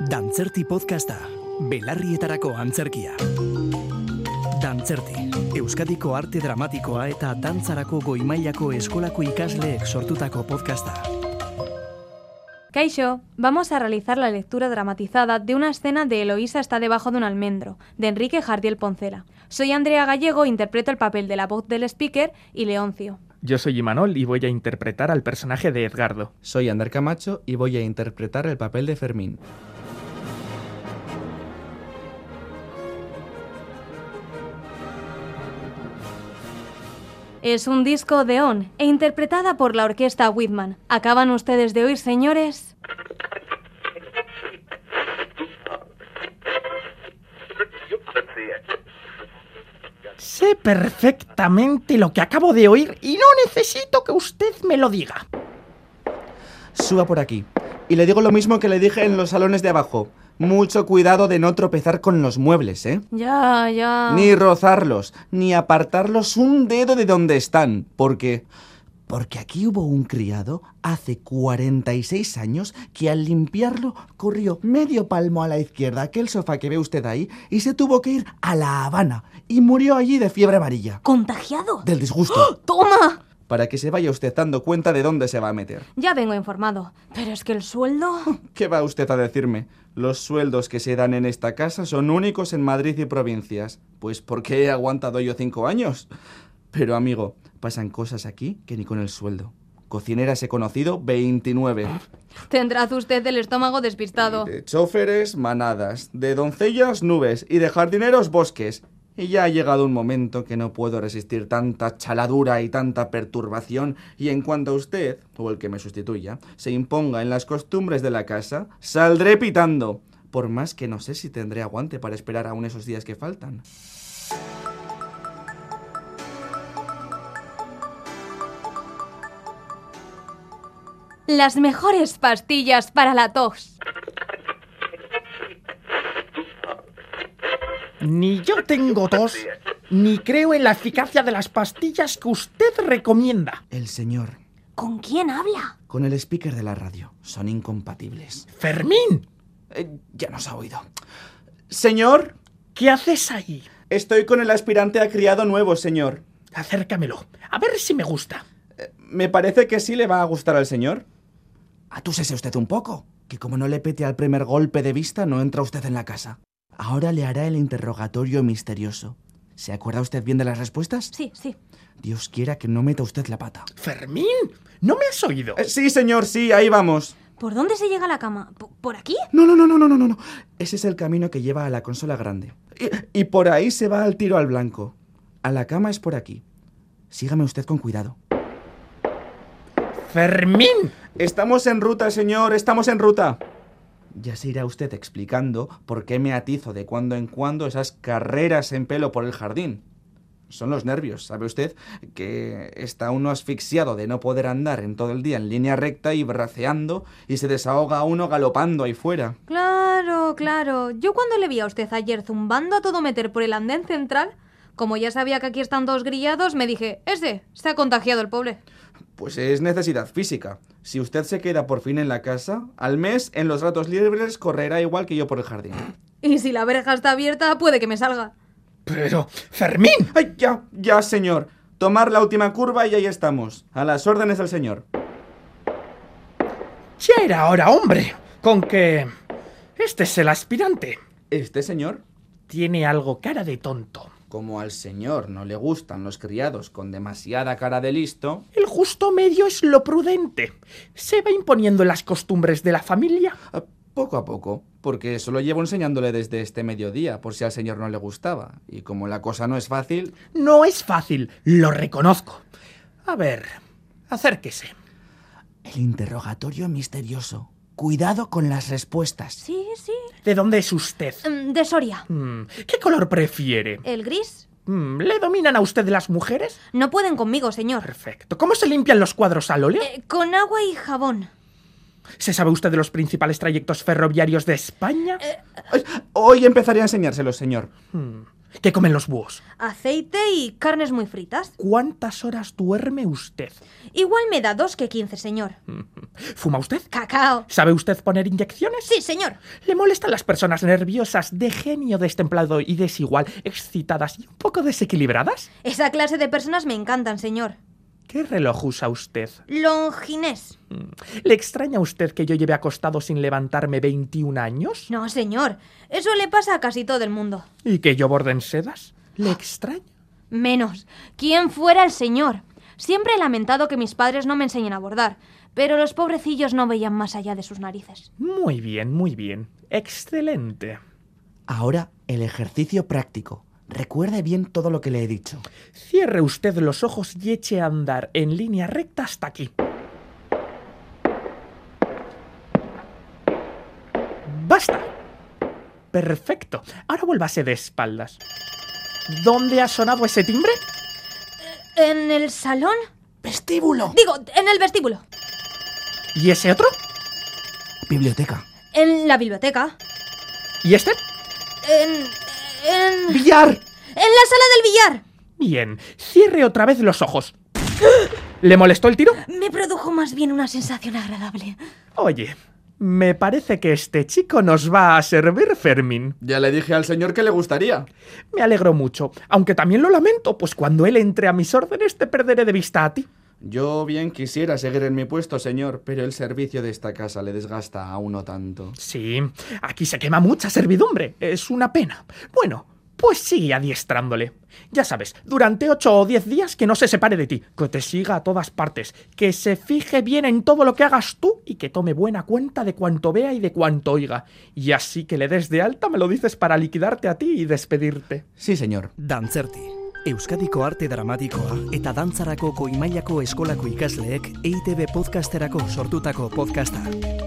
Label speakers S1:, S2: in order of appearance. S1: Dantzerti podcasta, belarrietarako antzerkia. Dantzerti, Euskadiko arte dramatikoa eta dantzarako goimailako eskolako ikasleek sortutako podcasta.
S2: Kaisho, vamos a realizar la lectura dramatizada de una escena de Eloísa está debajo de un almendro, de Enrique Jardiel Poncela. Soy Andrea Gallego, interpreto el papel de la voz del speaker y Leoncio.
S3: Yo soy Imanol y voy a interpretar al personaje de Edgardo.
S4: Soy Ander Camacho y voy a interpretar el papel de Fermín.
S2: Es un disco de ON e interpretada por la orquesta Whitman. Acaban ustedes de oír, señores.
S5: Sé perfectamente lo que acabo de oír y no necesito que usted me lo diga.
S4: Suba por aquí. Y le digo lo mismo que le dije en los salones de abajo. Mucho cuidado de no tropezar con los muebles, ¿eh?
S2: Ya, ya.
S4: Ni rozarlos, ni apartarlos un dedo de donde están, porque... Porque aquí hubo un criado hace 46 años que al limpiarlo corrió medio palmo a la izquierda aquel sofá que ve usted ahí y se tuvo que ir a La Habana y murió allí de fiebre amarilla.
S2: ¿Contagiado?
S4: Del disgusto.
S2: ¡Toma!
S4: Para que se vaya usted dando cuenta de dónde se va a meter.
S2: Ya vengo informado. Pero es que el sueldo...
S4: ¿Qué va usted a decirme? Los sueldos que se dan en esta casa son únicos en Madrid y provincias. Pues ¿por qué he aguantado yo cinco años? Pero amigo, pasan cosas aquí que ni con el sueldo. Cocineras he conocido 29.
S2: Tendrá usted el estómago despistado.
S4: De choferes, manadas. De doncellas, nubes. Y de jardineros, bosques. Y ya ha llegado un momento que no puedo resistir tanta chaladura y tanta perturbación, y en cuanto a usted, o el que me sustituya, se imponga en las costumbres de la casa, saldré pitando. Por más que no sé si tendré aguante para esperar aún esos días que faltan.
S2: Las mejores pastillas para la tos.
S5: Ni yo tengo tos, ni creo en la eficacia de las pastillas que usted recomienda.
S4: El señor,
S2: ¿Con quién habla?
S4: con el speaker de la radio, son incompatibles.
S5: Fermín,
S4: Eh, ya nos ha oído. Señor,
S5: ¿qué haces ahí?
S4: estoy con el aspirante a criado nuevo, señor.
S5: Acércamelo, a ver si me gusta.
S4: Me parece que sí le va a gustar al señor. Atúsese usted un poco, que como no le pete al primer golpe de vista, no entra usted en la casa. Ahora le hará el interrogatorio misterioso. ¿Se acuerda usted bien de las respuestas?
S2: Sí, sí.
S4: Dios quiera que no meta usted la pata.
S5: Fermín, ¿no me has oído?
S4: Eh,
S5: Eh,
S4: sí, señor, sí, ahí vamos.
S2: ¿Por dónde se llega a la cama? ¿Po- ¿Por aquí?
S4: No, no, no, no, no, no, no, no. Ese es el camino que lleva a la consola grande. Y, y por ahí se va al tiro al blanco. A la cama es por aquí. Sígame usted con cuidado.
S5: Fermín,
S4: Estamos en ruta, señor, estamos en ruta. Ya se irá usted explicando por qué me atizo de cuando en cuando esas carreras en pelo por el jardín. Son los nervios, ¿sabe usted? Que está uno asfixiado de no poder andar en todo el día en línea recta y braceando y se desahoga uno galopando ahí fuera.
S2: Claro, claro. Yo cuando le vi a usted ayer zumbando a todo meter por el andén central, como ya sabía que aquí están dos grillados, me dije, ese, se ha contagiado el pobre.
S4: Pues es necesidad física. Si usted se queda por fin en la casa, al mes en los ratos libres correrá igual que yo por el jardín.
S2: Y si la verja está abierta, puede que me salga.
S5: pero Fermín,
S4: ¡Ay, ya, ya, señor! Tomar la última curva y ahí estamos. A las órdenes del señor.
S5: ya era hora, hombre. Con que... Este es el aspirante.
S4: Este señor,
S5: Tiene algo cara de tonto.
S4: como al señor no le gustan los criados con demasiada cara de listo,
S5: El justo medio es lo prudente. Se va imponiendo en las costumbres de la familia.
S4: ah, poco a poco, porque eso lo llevo enseñándole desde este mediodía, por si al señor no le gustaba. Y como la cosa no es fácil,
S5: No es fácil, lo reconozco. A ver, acérquese.
S4: el interrogatorio misterioso. Cuidado con las respuestas.
S2: Sí, sí.
S5: ¿De dónde es usted?
S2: Mm, De Soria.
S5: Mm, ¿Qué color prefiere?
S2: ¿El gris?
S5: Mm, ¿Le dominan a usted las mujeres?
S2: No pueden conmigo, señor.
S5: Perfecto. ¿Cómo se limpian los cuadros al óleo?
S2: Eh, con agua y jabón.
S5: ¿Se sabe usted de los principales trayectos ferroviarios de España?
S4: Hoy empezaré a enseñárselo, señor.
S5: Mm, ¿Qué comen los búhos?
S2: Aceite y carnes muy fritas.
S5: ¿Cuántas horas duerme usted?
S2: Igual me da dos que quince, señor.
S5: ¿Fuma usted?
S2: Cacao.
S5: ¿Sabe usted poner inyecciones?
S2: Sí, señor.
S5: ¿Le molestan las personas nerviosas, de genio destemplado y desigual, excitadas y un poco desequilibradas?
S2: Esa clase de personas me encantan, señor.
S5: ¿Qué reloj usa usted?
S2: Longinés.
S5: ¿Le extraña a usted que yo lleve acostado sin levantarme 21 años?
S2: No, señor. Eso le pasa a casi todo el mundo.
S5: ¿Y que yo borde en sedas? ¿Le extraña?
S2: Menos. ¿Quién fuera el señor? Siempre he lamentado que mis padres no me enseñen a bordar, pero los pobrecillos no veían más allá de sus narices.
S5: Muy bien, muy bien. Excelente.
S6: Ahora el ejercicio práctico. Recuerde bien todo lo que le he dicho.
S5: Cierre usted los ojos y eche a andar en línea recta hasta aquí. ¡Basta! Perfecto. Ahora vuélvase de espaldas. ¿Dónde ha sonado ese timbre?
S2: ¿En el salón?
S6: ¡Vestíbulo!
S2: Digo, en el vestíbulo.
S5: ¿Y ese otro?
S6: Biblioteca.
S2: En la biblioteca.
S5: ¿Y este?
S2: En. en. en
S6: ¡Billar!
S2: la sala del billar.
S5: Bien. Cierre otra vez los ojos. ¿Le molestó el tiro?
S2: Me produjo más bien una sensación agradable.
S5: Oye, me parece que este chico nos va a servir, Fermín.
S4: Ya le dije al señor que le gustaría.
S5: Me alegro mucho, aunque también lo lamento, pues cuando él entre a mis órdenes te perderé de vista a ti.
S4: Yo bien quisiera seguir en mi puesto, señor, pero el servicio de esta casa le desgasta a uno tanto.
S5: Sí, aquí se quema mucha servidumbre, es una pena. Bueno, pues sigue adiestrándole. Ya sabes, durante ocho o diez días que no se separe de ti, que te siga a todas partes, que se fije bien en todo lo que hagas tú y que tome buena cuenta de cuanto vea y de cuanto oiga. Y así que le des de alta me lo dices para liquidarte a ti y despedirte.
S6: Sí, señor.
S1: Dantzerti, Euskadiko arte dramatikoa eta E dantzarako goimailako eskolako ikasleek EITB podcasterako sortutako podcasta.